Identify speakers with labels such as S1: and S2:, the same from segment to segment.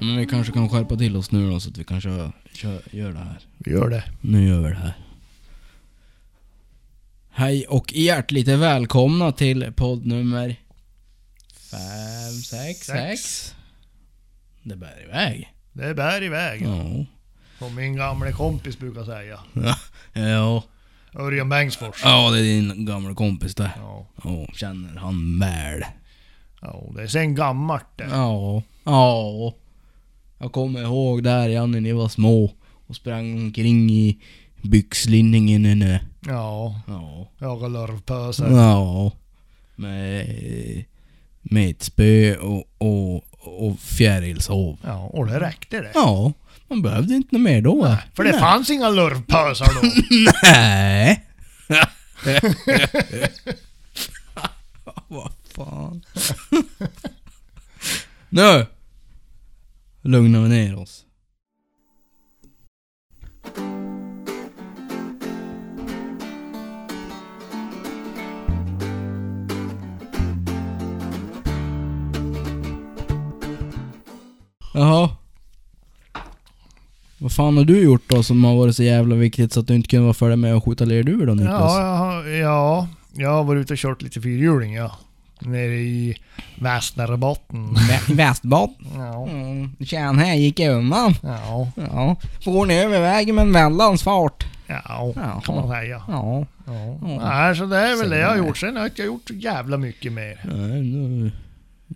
S1: men vi kanske kan skärpa till oss nu då så att vi kan köra, köra, gör det här.
S2: Vi gör det.
S1: Nu gör vi det här. Hej och hjärtligt välkomna till podd nummer... fem, sex,
S2: Sex.
S1: sex. Det bär iväg.
S2: Det bär iväg.
S1: Ja.
S2: Som min gamle kompis brukar säga.
S1: Ja.
S2: Örjan Bengtsfors.
S1: Ja, det är din gamla kompis där.
S2: Ja.
S1: Ja, känner han väl.
S2: ja. Det är sen gammalt det.
S1: Ja. Ja. Jag kommer ihåg där ja, när ni var små och sprang omkring i byxlinningen. eller-
S2: Ja.
S1: Ja.
S2: Jagar lurvpösar.
S1: Ja. Med, med ett spö och, och, och fjärilshov.
S2: Ja, och det räckte det.
S1: Ja, man behövde inte något mer då. va?
S2: För det fanns inga lurvpösar då.
S1: Nej. Vad fan. nu! Lugnar vi ner oss. Jaha. Vad fan har du gjort då som har varit så jävla viktigt så att du inte kunde vara följa med och skjuta lerduvor då Niklas?
S2: Ja, jag har, ja, jag har varit ute och kört lite fyrhjuling ja. Nere i Västerbotten.
S1: Vä- Västbad.
S2: Ja.
S1: Mm, Tjena, här gick jag undan.
S2: Ja.
S1: Ja. Får ni över vägen med en väldans fart?
S2: Ja, kan
S1: Jaha.
S2: man säga.
S1: Ja.
S2: Ja. Nej, så det är väl det jag har gjort. Sen har jag inte gjort så jävla mycket mer.
S1: Nej, nu är du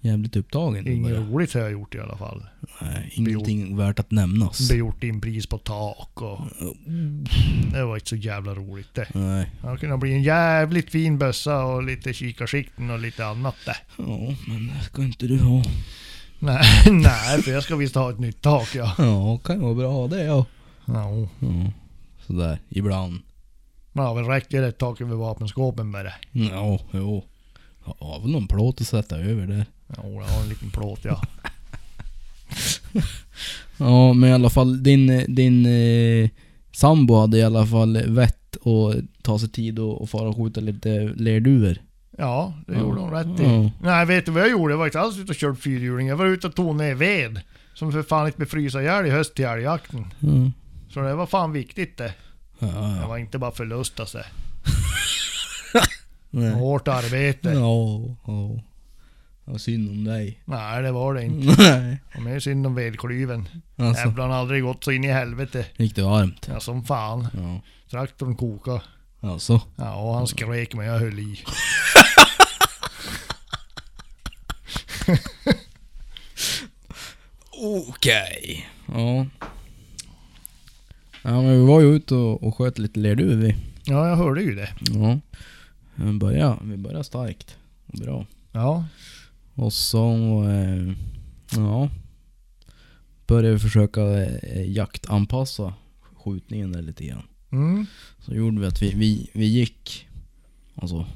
S1: jävligt upptagen. du
S2: Inget
S1: bara.
S2: roligt har jag gjort i alla fall.
S1: Nej, ingenting värt att nämnas.
S2: Bejort in pris på tak och... Det var inte så jävla roligt det.
S1: Nej.
S2: Det hade kunnat bli en jävligt fin bössa och lite kikarsikten och lite annat det.
S1: Ja, men det ska inte du ha.
S2: Nej, nej, för jag ska visst ha ett nytt tak ja.
S1: Ja, kan ju vara bra det ja.
S2: Ja,
S1: ja. Sådär, ibland.
S2: men ja, väl räcker ett tak över vapenskåpen med det.
S1: Ja, jo. Jag har väl någon plåt att sätta över där.
S2: Ja, jag har en liten plåt ja.
S1: Ja, men i alla fall din, eh, din eh, sambo hade i alla fall vett att ta sig tid och, och fara och skjuta lite lerduvor.
S2: Ja, det gjorde hon rätt i.
S1: Ja.
S2: Nej, vet du vad jag gjorde? Jag var inte alls ute och körde fyrhjuling. Jag var ute och tog ner ved. Som för fan inte blev frysa ihjäl i höst till älgjakten.
S1: Mm.
S2: Så det var fan viktigt det.
S1: Ja,
S2: Det
S1: ja.
S2: var inte bara förlusta sig.
S1: Nej.
S2: Hårt arbete.
S1: Ja, ja. Det var synd om dig.
S2: Nej, det var det inte.
S1: Nej.
S2: Och mer synd om vedklyven.
S1: Mm. Alltså,
S2: Jävlar, han har aldrig gått så in i helvete.
S1: gick det varmt?
S2: Ja, som fan.
S1: Ja.
S2: Traktorn kokade.
S1: Alltså.
S2: Ja, och han skrek men jag höll i.
S1: Okej. Ja. Ja men vi var ju ute och, och sköt lite lerduvor vi.
S2: Ja, jag hörde ju det.
S1: Ja. Vi började, vi började starkt. Bra.
S2: Ja.
S1: Och så... Eh, ja. Började vi försöka eh, jaktanpassa skjutningen där lite grann.
S2: Mm.
S1: Så gjorde vi att vi, vi, vi gick alltså,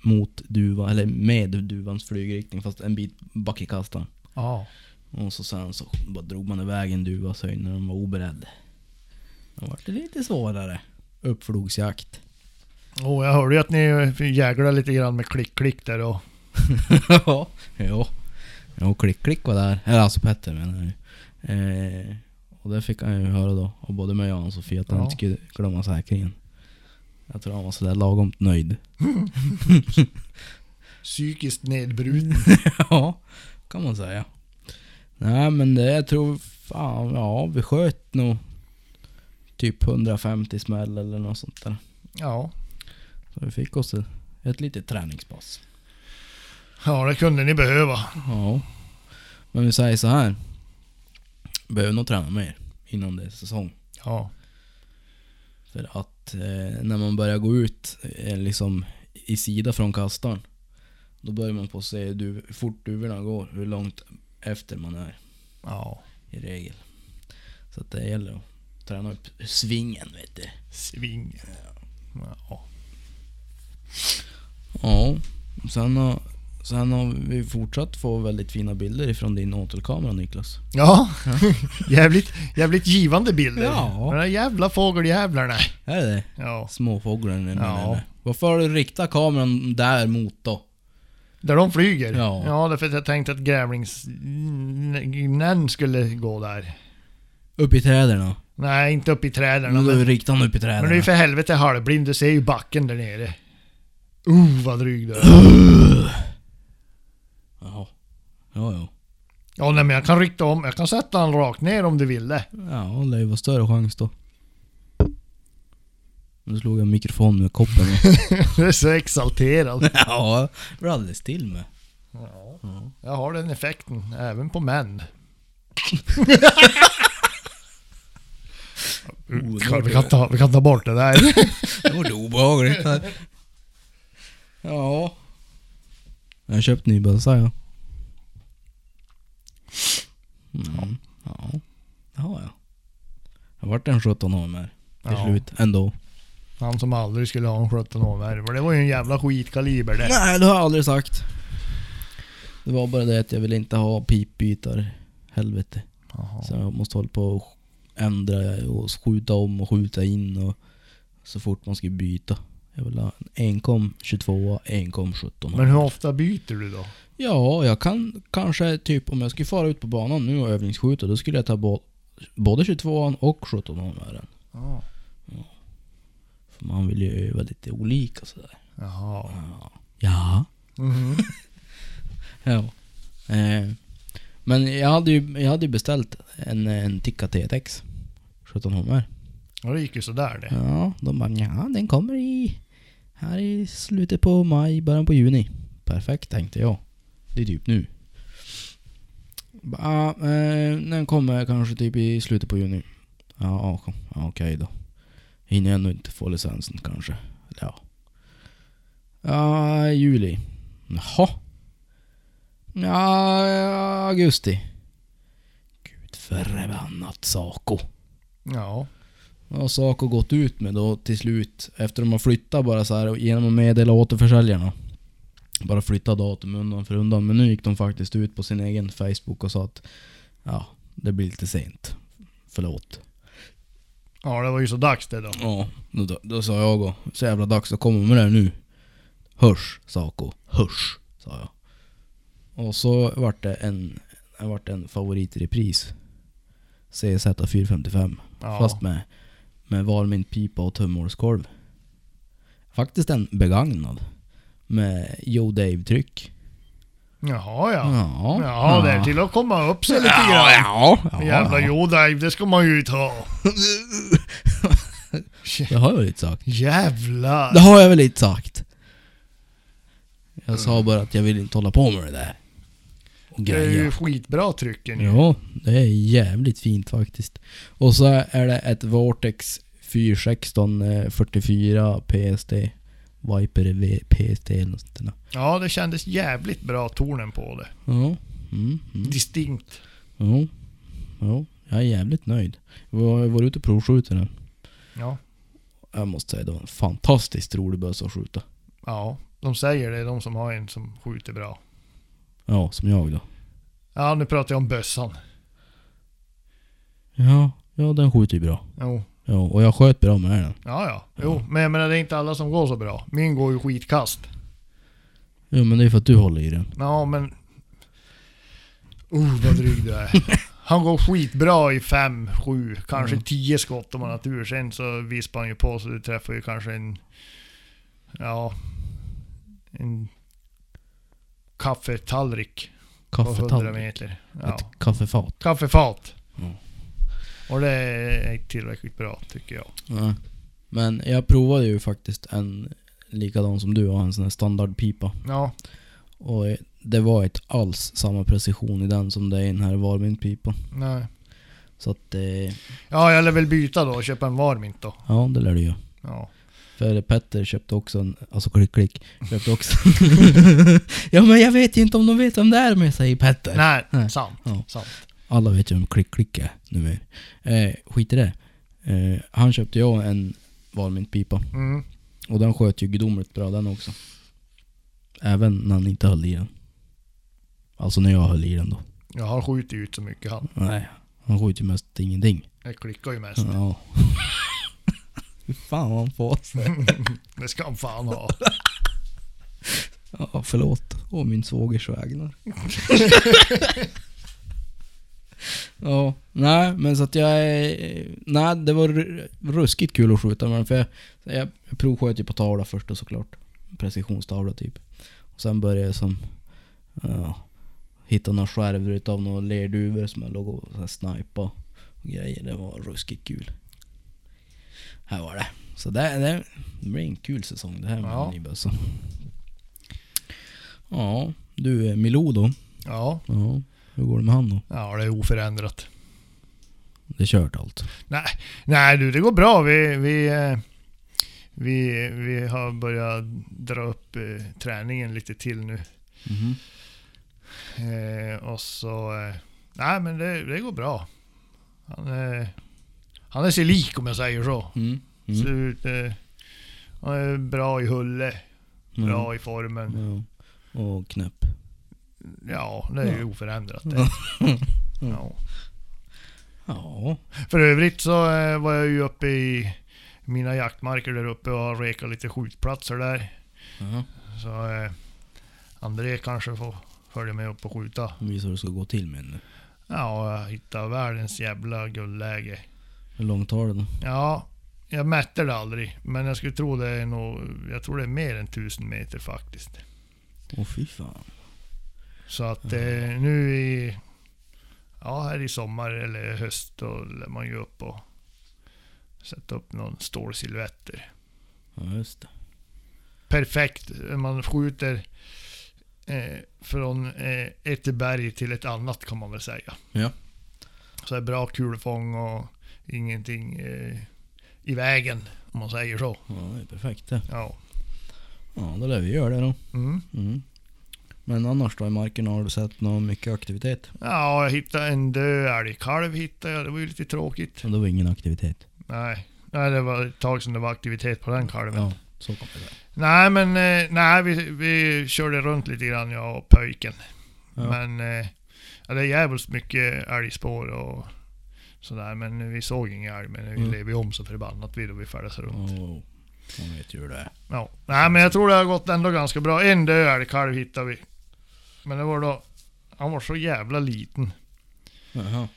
S1: mot duvan, eller med duvans flygriktning fast en bit back i kastan.
S2: Ja.
S1: Och så sen så bara drog man iväg en duva så när de var oberedda. Då var det lite svårare. Uppflogsjakt.
S2: Och jag hörde ju att ni jäglade lite grann med klick-klick där och...
S1: ja. Jo. Jo, klick klick var där. Eller alltså Petter menar jag ju. eh, Och det fick han ju höra då av både mig och Ann-Sofie att han
S2: Ja.
S1: inte skulle glömma säkringen. Jag tror han var sådär lagom nöjd.
S2: Psykiskt nedbruten.
S1: Mm. Ja, kan man säga. Nej men det, jag tror fan, ja vi sköt nog typ 150 smäll eller något sånt där.
S2: Ja.
S1: Så vi fick oss ett, ett litet träningspass.
S2: Ja, det kunde ni behöva.
S1: Ja. Men vi säger så här. Behöver nog träna mer innan det är säsong.
S2: Ja.
S1: För att eh, när man börjar gå ut eh, liksom i sida från kastaren. Då börjar man på att se du, hur fort duvorna går, hur långt efter man är.
S2: Ja.
S1: i regel. Så att det gäller att träna upp svingen vet du.
S2: Sving. Ja.
S1: Ja, sen har, sen har vi fortsatt få väldigt fina bilder ifrån din åtelkamera Niklas.
S2: Ja. jävligt, jävligt givande bilder.
S1: Ja.
S2: De där jävla fågeljävlarna.
S1: Är det
S2: Ja.
S1: Småfågeln eller
S2: Ja.
S1: eller? Varför har du riktat kameran där mot då?
S2: Där de flyger?
S1: Ja.
S2: ja därför att jag tänkte att grävlingsnen skulle gå där.
S1: Upp i träden då.
S2: Nej, inte upp i träden.
S1: Nu
S2: men,
S1: riktar han upp i träden.
S2: men du är ju för helvete halvblind, du ser ju backen där nere. Uh, vad dryg du är.
S1: Jaha. Ja, ja.
S2: Ja, nej, men jag kan rikta om, jag kan sätta han rakt ner om du ville.
S1: Ja, det lär ju vara större chans då. Nu slog jag mikrofonen med koppen.
S2: Du är så exalterad.
S1: ja, det blir alldeles till med.
S2: Ja, jag har den effekten, även på män.
S1: Oh,
S2: Mm, Vi kan ta, vi kan ta bort det där.
S1: Det var obehagligt här. Ja. Jag har köpt ny bössa ja. Mm. Ja. Det har jag. Jag vart en 17 år med till
S2: Ja.
S1: slut ändå.
S2: Han som aldrig skulle ha en 17 år för det var ju en jävla skitkaliber det.
S1: Nej, det har jag aldrig sagt. Det var bara det att jag ville inte ha pipbytar. Helvete.
S2: Jaha.
S1: Så jag måste hålla på och ändra och skjuta om och skjuta in och så fort man ska byta. Jag vill ha en enkom 22, enkom 17.
S2: Men hur ofta byter du då?
S1: Ja, jag kan kanske typ om jag skulle fara ut på banan nu och övningsskjuta då skulle jag ta bo- både 22an och 17 an med den.
S2: Ja.
S1: För man vill ju öva lite olika sådär.
S2: Jaha.
S1: Ja.
S2: Mhm.
S1: ja. Eh, men jag hade ju jag hade ju beställt en, en Tikka TTX 17 hummer.
S2: Ja, det gick ju sådär det.
S1: Ja, de bara ja, den kommer i här i slutet på maj, början på juni. Perfekt tänkte jag. Det är typ nu. Bara, Ja, eh, den kommer kanske typ i slutet på juni. Ja, ok- ja, okej då. Hinner jag nog inte få licensen kanske. Eller Ja. Ja, juli. Jaha. Ja, augusti. Gud förbannat Saco.
S2: Ja.
S1: Ja, Saco gått ut med då till slut, efter de har flyttat bara så här och genom att meddela återförsäljarna. Bara flytta datum undan för undan. Men nu gick de faktiskt ut på sin egen Facebook och sa att ja, det blir lite sent. Förlåt.
S2: Ja, det var ju så dags det då.
S1: Ja, då, då sa jag då, så jävla dags att komma med det här nu. Hörs, Saco. Hörs, sa jag. Och så vart det en, det vart en favorit i repris. CZ455.
S2: Ja.
S1: Fast med, med varmint pipa och tummhålskolv. Faktiskt en begagnad. Med Joe Dave-tryck.
S2: Jaha ja.
S1: Ja.
S2: Jaha, det är till att komma upp sig lite
S1: Ja,
S2: grann.
S1: ja. ja,
S2: Jävla
S1: ja.
S2: jodajv, det ska man ju ta.
S1: Det har jag väl inte sagt.
S2: Jävlar.
S1: Det har jag väl inte sagt. Jag sa bara att jag vill inte hålla på med det där. Och
S2: Mm. Det är ju
S1: grejer.
S2: skitbra trycken ju.
S1: Ja, det är jävligt fint faktiskt. Och så är det ett Vortex 416 eh, 44 PST. Viper V- PST eller något sånt där.
S2: Ja, det kändes jävligt bra tonen på det.
S1: Ja. Mm, mm.
S2: Distinkt.
S1: Jo. Jo. Jag är jävligt nöjd. Jag var- jag var ute och provskjutit den.
S2: Ja.
S1: Jag måste säga det var en fantastiskt rolig bössa att skjuta.
S2: Ja. De säger det, de som har en som skjuter bra.
S1: Ja, som jag då.
S2: Ja, nu pratar jag om bössan.
S1: Ja, ja den skjuter ju bra.
S2: Jo.
S1: Ja, och jag sköt bra med den.
S2: Ja, ja. Jo, men jag menar det är inte alla som går så bra. Min går ju skitkast.
S1: Jo men det är för att du håller i den.
S2: Ja, men... Oh, vad dryg du är. Han går skitbra i fem, sju,
S1: Mm.
S2: kanske tio skott om man har tur. Sen så vispar han ju på så du träffar ju kanske en... Ja... En kaffetallrik på 100
S1: Kaffetallrik.
S2: meter. Ja.
S1: Ett Mm. kaffefat.
S2: Kaffefat.
S1: Ja.
S2: Och det är inte tillräckligt bra tycker jag.
S1: Nej. Men jag provade ju faktiskt en likadan som du har, en sån här standardpipa.
S2: Ja,
S1: Och eh, det var inte alls samma precision i den som det är i den här varmintpipan.
S2: nej.
S1: Så att eh,
S2: Ja, jag lär väl byta då och köpa en Varmint då.
S1: ja, det lär du ju.
S2: Ja.
S1: För Petter köpte också en, alltså klick klick, köpte också Ja men jag vet ju inte om de vet vem det är med sig Petter.
S2: Nej,
S1: Nej.
S2: sant.
S1: Ja.
S2: Sant.
S1: Alla vet ju vem klick klick är numera. Eh, skit i det. Eh, han köpte jag en varmintpipa.
S2: Mm.
S1: Och den sköt ju gudomligt bra den också. Även när han inte höll i den. Alltså när jag höll i den då.
S2: Jag har skjutit ut så mycket han.
S1: Nej. Han sköt ju mest ingenting.
S2: Jag klickar ju mest.
S1: Ja. Fy fan Mm. vad han får sig.
S2: Det ska han fan ha.
S1: Ja, förlåt. Å min svågers vägnar. ja, nej men så att jag... eh, Nej, det var ru- ruskigt kul att skjuta med den för jag, jag provsköt ju på tavla först och såklart. Precisionstavla typ. Och sen började jag som... Ja, hitta några skärvor utav några lerduvor som jag låg och så här snipade och grejer. Det var ruskigt kul. Här var det. Så det, det, det blir en kul säsong det här med
S2: Ja.
S1: ja. nybössa. Ja, du eh, Milou då.
S2: Ja.
S1: Ja, hur går det med han då?
S2: ja, det är oförändrat.
S1: Det är kört allt.
S2: Nej, nej du, det går bra. Vi, vi, eh, vi, vi har börjat dra upp eh, träningen lite till nu. Eh, och så... Eh, nej, men det, det går bra. Han, eh, han är sig lik om jag säger så.
S1: Mm. Mm.
S2: Ser ut, eh, han är bra i hulle, bra
S1: Mm.
S2: i formen.
S1: Ja. Och knäpp.
S2: Ja, det är
S1: Ja.
S2: ju
S1: Mm.
S2: oförändrat det.
S1: Ja.
S2: Ja.
S1: Ja.
S2: För övrigt så eh, var jag ju uppe i mina jaktmarker där uppe och har rekat lite skjutplatser där.
S1: ja.
S2: Så eh, André kanske får följa med upp och skjuta.
S1: Visa hur det ska gå till med nu.
S2: Ja, och jag hittade världens jävla guldläge.
S1: Hur långt tar det då?
S2: Ja, jag mätte det aldrig. Men jag skulle tro det är nog, jag tror det är mer än 1000 meter faktiskt.
S1: Åh fy fan.
S2: Så att eh, nu i, ja här i sommar eller höst då lär man ju upp och sätta upp någon stålsilhuetter.
S1: Ja just det.
S2: perfekt. Man skjuter eh, från eh, ett berg till ett annat kan man väl säga.
S1: Ja.
S2: Så det är bra kulfång och ingenting eh, i vägen om man säger så.
S1: Ja det är perfekt det.
S2: Ja.
S1: Ja då lär vi göra det då.
S2: Mm.
S1: Mm. Men annars då i marken har du sett något mycket aktivitet?
S2: ja, jag hittade en död älgkalv hittade jag. Det var ju lite tråkigt.
S1: Men det var ingen aktivitet.
S2: Nej. Nej, det var ett tag sedan det var aktivitet på den kalven.
S1: Ja, så kan det vara.
S2: Nej, men eh, nej, vi, vi körde runt lite grann jag och pöjken.
S1: Ja.
S2: Men eh, ja, det är jävligt mycket älgspår och sådär. Men vi såg ingen älg, men vi
S1: Mm.
S2: lever ju om så förbannat vi då vi färdas runt.
S1: Åh, man vet ju hur det är.
S2: Ja. Nej, men jag tror det har gått ändå ganska bra. En död älgkalv hittade vi. Men det var då... Han var så jävla liten.
S1: Jaha.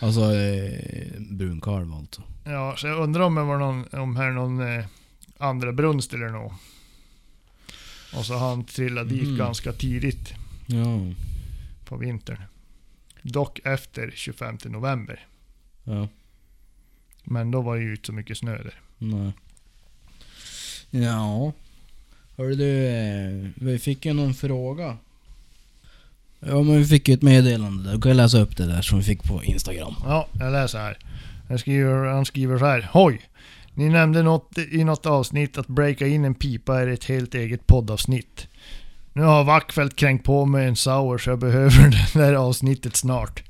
S1: Alltså eh, brunkalv alltså.
S2: Ja, så jag undrar om det var någon, om här någon eh, andra brunst eller något. Och så har han trillat dit
S1: Mm.
S2: ganska tidigt
S1: Ja.
S2: på vintern. Dock efter 25 november.
S1: Ja.
S2: Men då var det ju inte så mycket snö där.
S1: Nej. Ja. Hörru du, eh, vi fick ju någon fråga. Ja men vi fick ju ett meddelande där. Du kan läsa upp det där som vi fick på Instagram.
S2: Ja, jag läser här. Jag skriver, han skriver så här. Hoj! Ni nämnde något, i något avsnitt att breaka in en pipa är ett helt eget poddavsnitt. Nu har Wackfeldt kränkt på mig en sour så jag behöver det där avsnittet snart.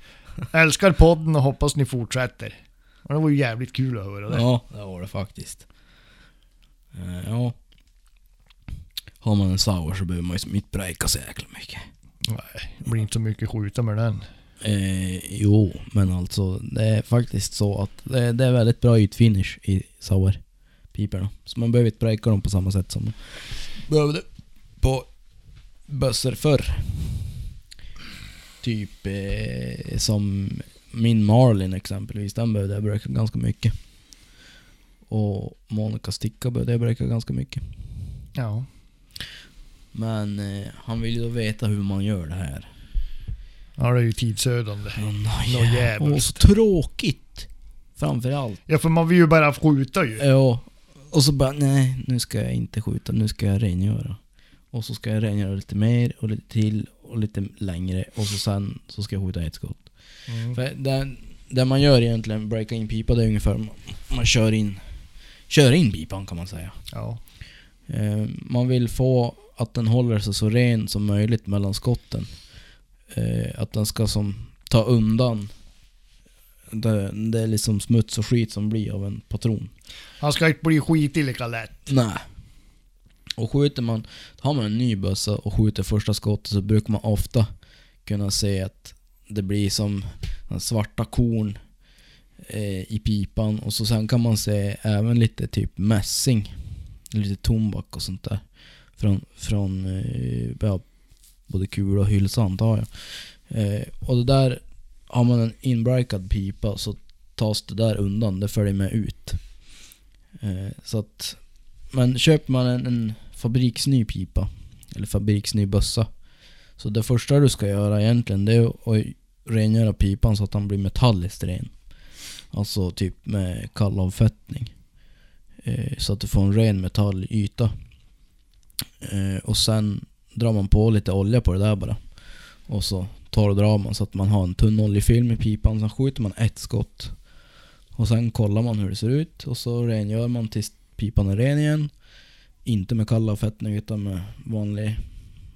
S2: Älskar podden och hoppas ni fortsätter. Och det var ju jävligt kul att höra det.
S1: Ja, det var det faktiskt. Eh, Ja. Har man en sour så behöver man ju som inte breaka så jäkla mycket.
S2: Nej, det blir inte så mycket skjuta med den.
S1: Eh, jo, men alltså det är faktiskt så att det, det är väldigt bra ytfinish i sour piporna. Så man behöver inte breaka dem på samma sätt som man behövde på bössor förr. Typ eh, som min Marlin exempelvis, den behövde jag breaka ganska mycket. Och Monica Sticka behövde jag breaka ganska mycket.
S2: Ja.
S1: Men eh, han vill ju då veta hur man gör det här.
S2: Ja, det är ju tidsödande.
S1: Ja,
S2: Nå
S1: nej.
S2: jävligt.
S1: Åh, så tråkigt. Framförallt.
S2: Ja, för man vill ju bara skjuta ju.
S1: Ja. Och så bara, nej, nu ska jag inte skjuta, nu ska jag rengöra. Och så ska jag rengöra lite mer och lite till och lite längre. Och så sen så ska jag skjuta ett skott.
S2: Mm.
S1: För det, det man gör egentligen, breaka in pipa, det är ungefär man, man kör in kör in pipan kan man säga.
S2: Ja.
S1: Eh, man vill få att den håller sig så ren som möjligt mellan skotten. Eh, att den ska som ta undan det, det är liksom smuts och skit som blir av en patron.
S2: Han ska inte bli skitig lika lätt.
S1: Nej. Och skjuter man, har man en ny bössa och skjuter första skottet så brukar man ofta kunna se att det blir som svarta korn eh, i pipan och så sen kan man se även lite typ mässing, lite tobak och sånt där från, från eh, ja, både kula och hylsa antar jag. Eh, och det där, har man en inbrikad pipa så tas det där undan, det följer med ut. Eh, så att, men köper man en, en fabriksny pipa, eller fabriksny bössa, så det första du ska göra egentligen det är att rengöra pipan så att den blir metalliskt ren. Alltså typ med kallavfettning. Eh, så att du får en ren metallyta. Eh, och sen drar man på lite olja på det där bara. Och så tar och drar man så att man har en tunn oljefilm i pipan. Sen skjuter man ett skott. Och sen kollar man hur det ser ut och så rengör man tills pipan är ren igen. Inte med kallavfettning utan med vanlig,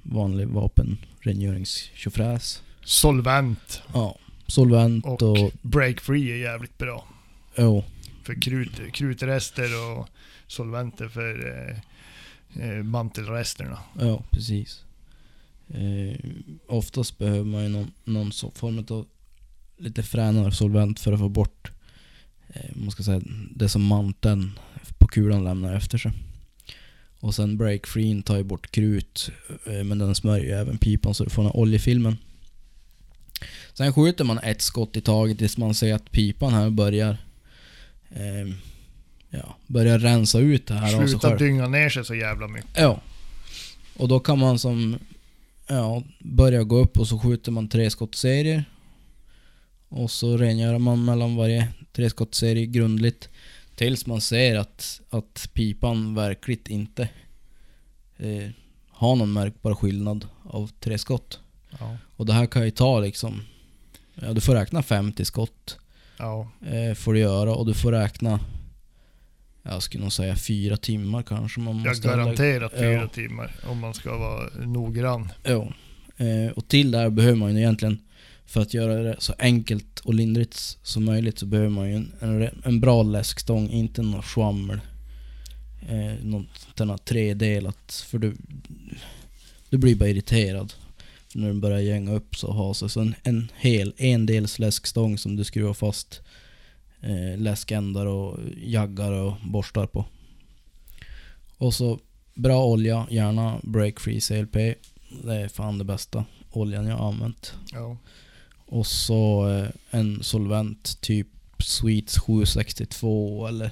S1: vanlig vapenrengöringstjofräs.
S2: Solvent
S1: Ja, solvent
S2: och,
S1: och...
S2: break free är jävligt bra.
S1: jo,
S2: För krut, krutrester och solventer för eh, eh, mantelresterna.
S1: Ja, precis. Eh, oftast behöver man ju någon, någon så- form av lite fränare solvent för att få bort eh, man ska säga, det som manteln på kulan lämnar efter sig. Och sen breakfreen tar ju bort krut eh, men den smörjer ju även pipan så du får den här oljefilmen. Sen skjuter man ett skott i taget tills man ser att pipan här börjar eh, ja, börjar rensa ut det här av sig
S2: Sluta
S1: själv.
S2: dynga ner sig så jävla mycket.
S1: Ja. Och då kan man som... Ja, börja gå upp och så skjuter man tre skottserier. Och så rengör man mellan varje treskottsserie grundligt. Tills man ser att, att pipan verkligt inte eh, har någon märkbar skillnad av tre skott.
S2: Ja.
S1: Och det här kan ju ta liksom... Ja, du får räkna 50 skott.
S2: ja.
S1: Eh, får du göra och du får räkna... Jag skulle nog säga fyra timmar kanske man
S2: Jag
S1: måste ändå-
S2: garanterat fyra
S1: Ja.
S2: timmar om man ska vara noggrann.
S1: Ja. Eh, och till det här behöver man ju egentligen, för att göra det så enkelt och lindrigt s- som möjligt, så behöver man ju en, en, re- en bra läskstång, inte något svammel. Eh, något sånt här tredelat, för du, du blir bara irriterad. När den börjar gänga upp så har sig. Så en, en hel, en dels läskstång som du skruvar fast eh, läskändar och jaggar och borstar på. Och så bra olja, gärna break free CLP. Det är fan det bästa oljan jag har använt.
S2: Ja.
S1: Och så eh, en solvent, typ Sweets 762 eller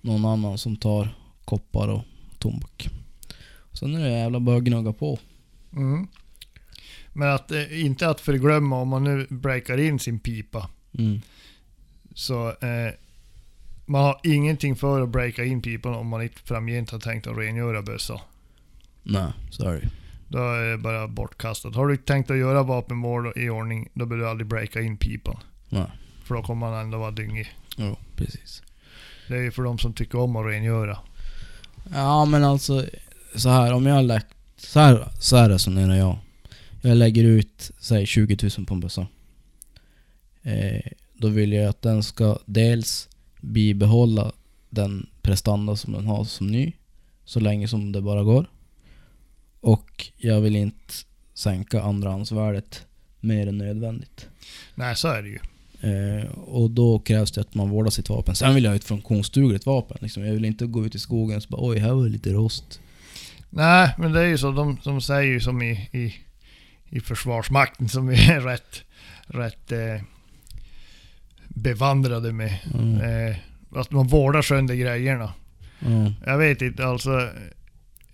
S1: någon annan som tar koppar och tobak. Sen är det jävla bara att gnugga på.
S2: Mm. Men att, eh, inte att förglömma om man nu breakar in sin pipa.
S1: Mm.
S2: Så eh, man har ingenting för att breaka in pipan om man inte framgent har tänkt att rengöra bössa.
S1: Nej, så är det ju.
S2: Då är det bara bortkastat. Har du tänkt att göra vapenmål i ordning, då behöver du aldrig breaka in pipan.
S1: Nej.
S2: För då kommer man ändå vara dyngig.
S1: Ja, precis.
S2: Det är ju för de som tycker om att rengöra.
S1: Ja men alltså så här om jag har lagt... Så här, så här resonerar jag. Jag lägger ut, säg 20 000 på en bössa. Eh, då vill jag att den ska dels bibehålla den prestanda som den har som ny. Så länge som det bara går. Och jag vill inte sänka andrahandsvärdet mer än nödvändigt.
S2: Nej, så är det ju.
S1: Eh, och då krävs det att man vårdar sitt vapen. Sen vill jag ha ett funktionsdugligt vapen. Liksom. Jag vill inte gå ut i skogen och så bara oj, här var det lite rost.
S2: Nej, men det är ju så. De, de säger ju som i, i, i Försvarsmakten som är rätt, rätt eh, bevandrade med.
S1: Mm.
S2: Eh, att man vårdar sönder grejerna.
S1: Ja,
S2: Jag vet inte, alltså.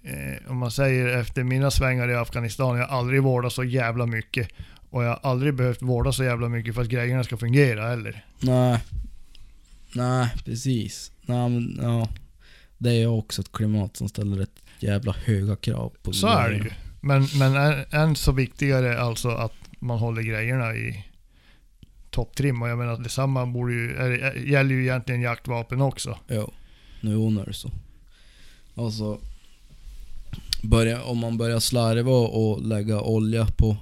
S2: Eh, om man säger efter mina svängar i Afghanistan, jag har aldrig vårdat så jävla mycket. Och jag har aldrig behövt vårda så jävla mycket för att grejerna ska fungera heller.
S1: nej. Nej, precis. Nej, men, ja. Det är också ett klimat som ställer rätt jävla höga krav på
S2: Så är det ju. Men, men än, än så viktigare alltså att man håller grejerna i topptrim. Och jag menar att detsamma borde ju, är, gäller ju egentligen jaktvapen också.
S1: Jo, nu är det så. Alltså, börja, om man börjar slarva och lägga olja på...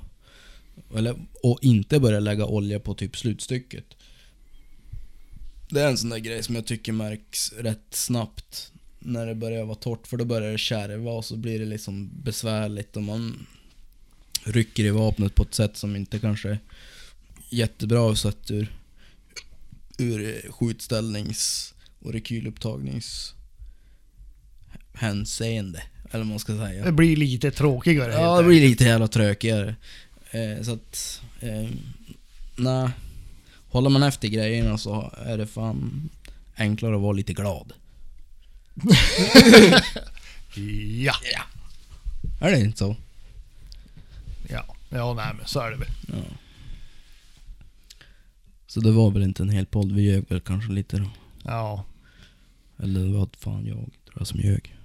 S1: Eller, och inte börja lägga olja på typ slutstycket. Det är en sån där grej som jag tycker märks rätt snabbt. När det börjar vara torrt, för då börjar det kärva och så blir det liksom besvärligt och man rycker i vapnet på ett sätt som inte kanske är jättebra sett ur, ur eh, skjutställnings och rekylupptagnings hänseende. Eller vad man ska säga.
S2: Det blir lite tråkigare helt
S1: Ja, det
S2: enkelt.
S1: blir lite jävla trökigare. Eh, så att... Eh, nej. Håller man efter grejerna så är det fan enklare att vara lite glad.
S2: Ja,
S1: Är det inte så?
S2: ja. Ja, nej men så är det väl.
S1: Ja. Så det var väl inte en hel podd, vi ljög väl kanske lite då.
S2: Ja.
S1: Eller det var fan jag tror jag som ljög.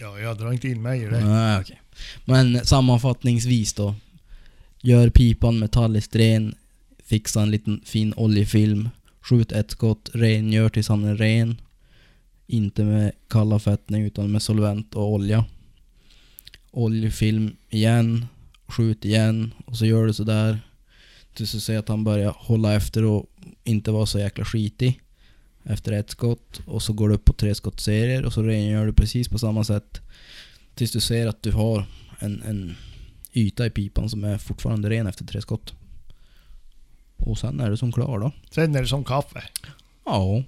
S2: ja, jag drar inte in mig i det.
S1: Nej, okej. Men sammanfattningsvis då. Gör pipan metalliskt ren, fixa en liten fin oljefilm, skjut ett skott, rengör tills han är ren. Inte med kalla fettning utan med solvent och olja. Oljefilm igen, skjut igen och så gör du sådär. Tills du ser att han börjar hålla efter och inte vara så jäkla skitig. Efter ett skott och så går du upp på tre skottserier och så rengör du precis på samma sätt. Tills du ser att du har en, en yta i pipan som är fortfarande ren efter tre skott. Och sen är du som klar då.
S2: Sen är det som kaffe.
S1: Ja,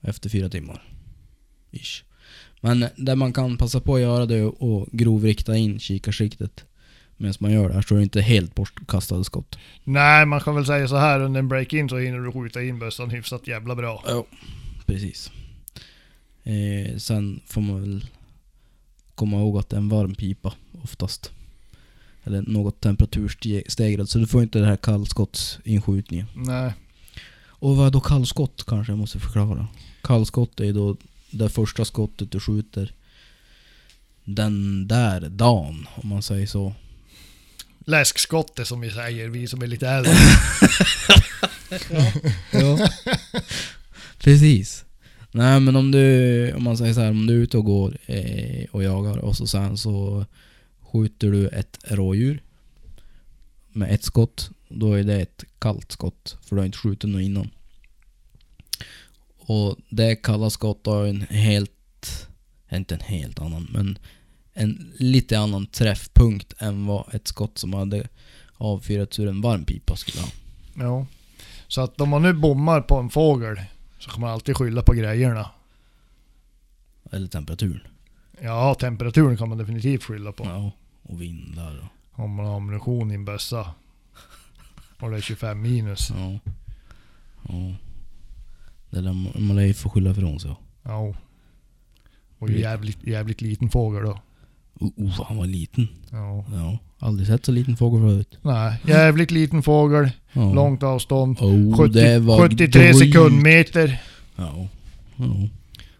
S1: efter fyra timmar. Ish. Men det man kan passa på att göra det är att grovrikta in kikarsiktet medan man gör det här så är det inte helt bortkastade skott.
S2: Nej, man kan väl säga så här under en break-in så hinner du skjuta in bössan hyfsat jävla bra.
S1: Ja, precis. Eh, sen får man väl komma ihåg att det är en varm pipa oftast. Eller något temperaturstegrat, så du får inte den här kallskottsinskjutningen.
S2: Nej.
S1: Och vad är då kallskott kanske jag måste förklara? Kallskott är då det första skottet du skjuter den där dagen, om man säger så.
S2: Läskskotte som vi säger, vi som är lite äldre.
S1: Ja. Precis. Nej men om du, om man säger så här, om du är ute och går eh, och jagar och så sen så skjuter du ett rådjur med ett skott. Då är det ett kallt skott, för du har inte skjutit något innan. Och det kalla skottet har en helt, inte en helt annan, men en lite annan träffpunkt än vad ett skott som hade avfyrats ur en varm pipa skulle ha.
S2: ja. Så att om man nu bommar på en fågel så kan man alltid skylla på grejerna.
S1: Eller temperaturen.
S2: Ja, temperaturen kan man definitivt skylla på.
S1: Ja, och vindar och...
S2: Om man har ammunition i en bössa. Och det är 25 minus.
S1: Ja. ja. Det lär man, man lär ju få skylla ifrån sig.
S2: Ja. Och
S1: Mm.
S2: jävligt, jävligt liten fågel då.
S1: Oh, oh, han var liten.
S2: Ja.
S1: Ja. Aldrig sett så liten fågel förut.
S2: Nej, jävligt liten fågel.
S1: Ja.
S2: Långt avstånd.
S1: Oh,
S2: 70,
S1: det var
S2: 73
S1: drygt.
S2: sekundmeter.
S1: Ja. ja.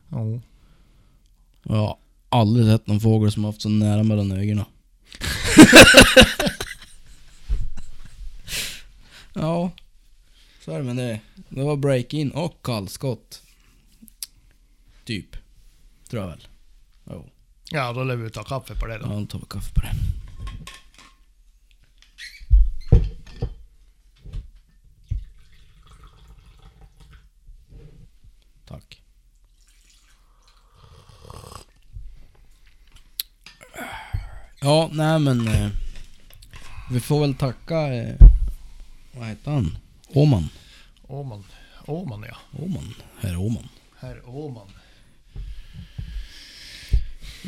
S2: Ja.
S1: Jag har aldrig sett någon fågel som haft så nära mellan ögonen. ja. Så är det med det. Det var break-in och kallskott. Typ. Tror jag väl. Jo.
S2: ja, då lär vi ta kaffe på det
S1: Ja,
S2: då.
S1: då tar vi kaffe på det. Tack. Ja, nej men... Eh, vi får väl tacka... Eh, vad heter han? Åman.
S2: Åman. Åman ja.
S1: Åman. Herr Åman.
S2: Herr Åman.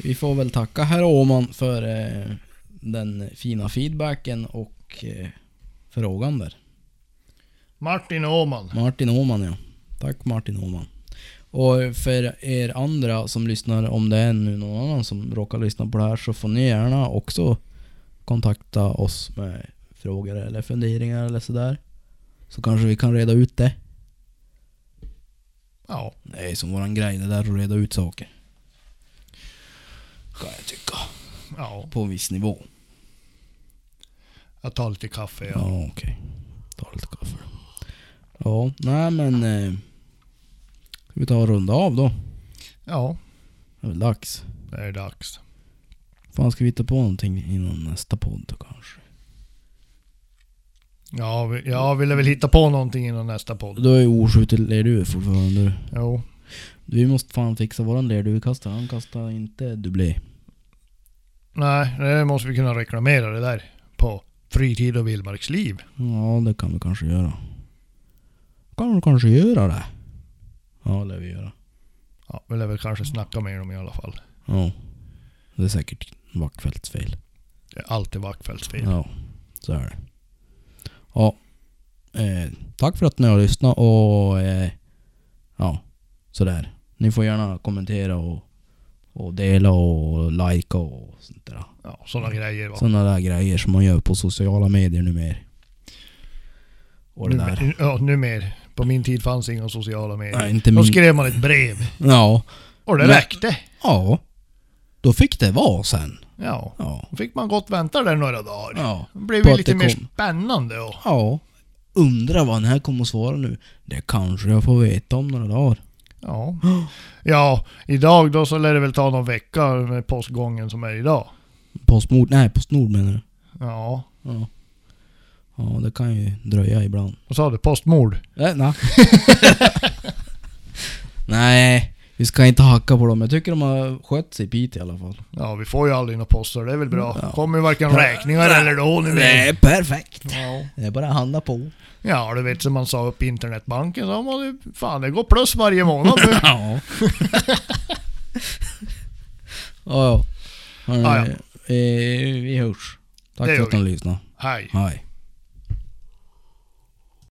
S1: Vi får väl tacka herr Åman för eh, den fina feedbacken och eh, frågan där.
S2: Martin Åman.
S1: Martin Åman ja. Tack Martin Åman. Och för er andra som lyssnar, om det är nu någon annan som råkar lyssna på det här så får ni gärna också kontakta oss med frågor eller funderingar eller sådär. Så kanske vi kan reda ut det.
S2: Ja.
S1: Det är som våran grej det där att reda ut saker. Kan jag tycka.
S2: Ja.
S1: På en viss nivå.
S2: Jag tar lite kaffe ja.
S1: Ja, okej. Ta lite kaffe då. Ja, nej men... Eh, ska vi ta och runda av då?
S2: Ja.
S1: Det är väl dags.
S2: Det är dags.
S1: Fan, ska vi hitta på någonting innan nästa podd kanske?
S2: Ja, vi, jag ville väl hitta på någonting innan nästa podd.
S1: Du har ju oskjutit lerduvor fortfarande.
S2: Jo.
S1: Vi måste fan fixa våran lerduvekastare. Han kastar inte dubblé.
S2: Nej, det måste vi kunna reklamera det där. På fritid och vildmarksliv.
S1: Ja, det kan vi kanske göra. Kan vi kanske göra det? Ja, det lär vi göra.
S2: Ja, vi lär väl kanske snacka med dem i alla fall.
S1: Ja. Det är säkert Wackfeldts fel.
S2: Det är alltid Wackfeldts fel.
S1: Ja, så är det. Ja. Eh, tack för att ni har lyssnat och eh, ja, sådär. Ni får gärna kommentera och, och dela och likea och sånt där.
S2: Ja, sådana grejer va.
S1: Sådana där grejer som man gör på sociala medier numer. Och det där.
S2: Numer, ja, numer. På min tid fanns inga sociala medier.
S1: Nej, Mm. inte
S2: Då
S1: min...
S2: skrev man ett brev.
S1: Ja.
S2: Och det
S1: Men-
S2: räckte.
S1: Ja. Då fick det vara sen.
S2: Ja.
S1: Ja.
S2: Då fick man gott vänta där några dagar.
S1: Ja.
S2: Det blev
S1: På
S2: ju
S1: att
S2: lite
S1: det
S2: mer
S1: kom.
S2: spännande då.
S1: Ja. Undrar vad den här kommer att svara nu. Det kanske jag får veta om några dagar.
S2: Ja. ja, idag då så lär det väl ta någon vecka med postgången som är idag.
S1: Postmord? Nej, Postnord menar du?
S2: Ja.
S1: Ja. Ja, det kan ju dröja ibland.
S2: Vad sa du? Postmord?
S1: Äh, nej. nej, vi ska inte hacka på dem. Jag tycker de har skött sig pit i alla fall.
S2: Ja, vi får ju aldrig några poster, det är väl bra.
S1: Ja.
S2: Kommer ju varken räkningar eller lån i
S1: Nej,
S2: väg.
S1: perfekt.
S2: Ja.
S1: Det är bara att handla på.
S2: ja, du vet som man sa upp internetbanken, så man, ju- fan det går plus varje månad nu.
S1: Ja. ja, ja.
S2: Ja,
S1: Hörrni, eh, Vi hörs. Tack
S2: Det
S1: för
S2: gör
S1: att ni lyssnade.
S2: Hej.
S1: Hej.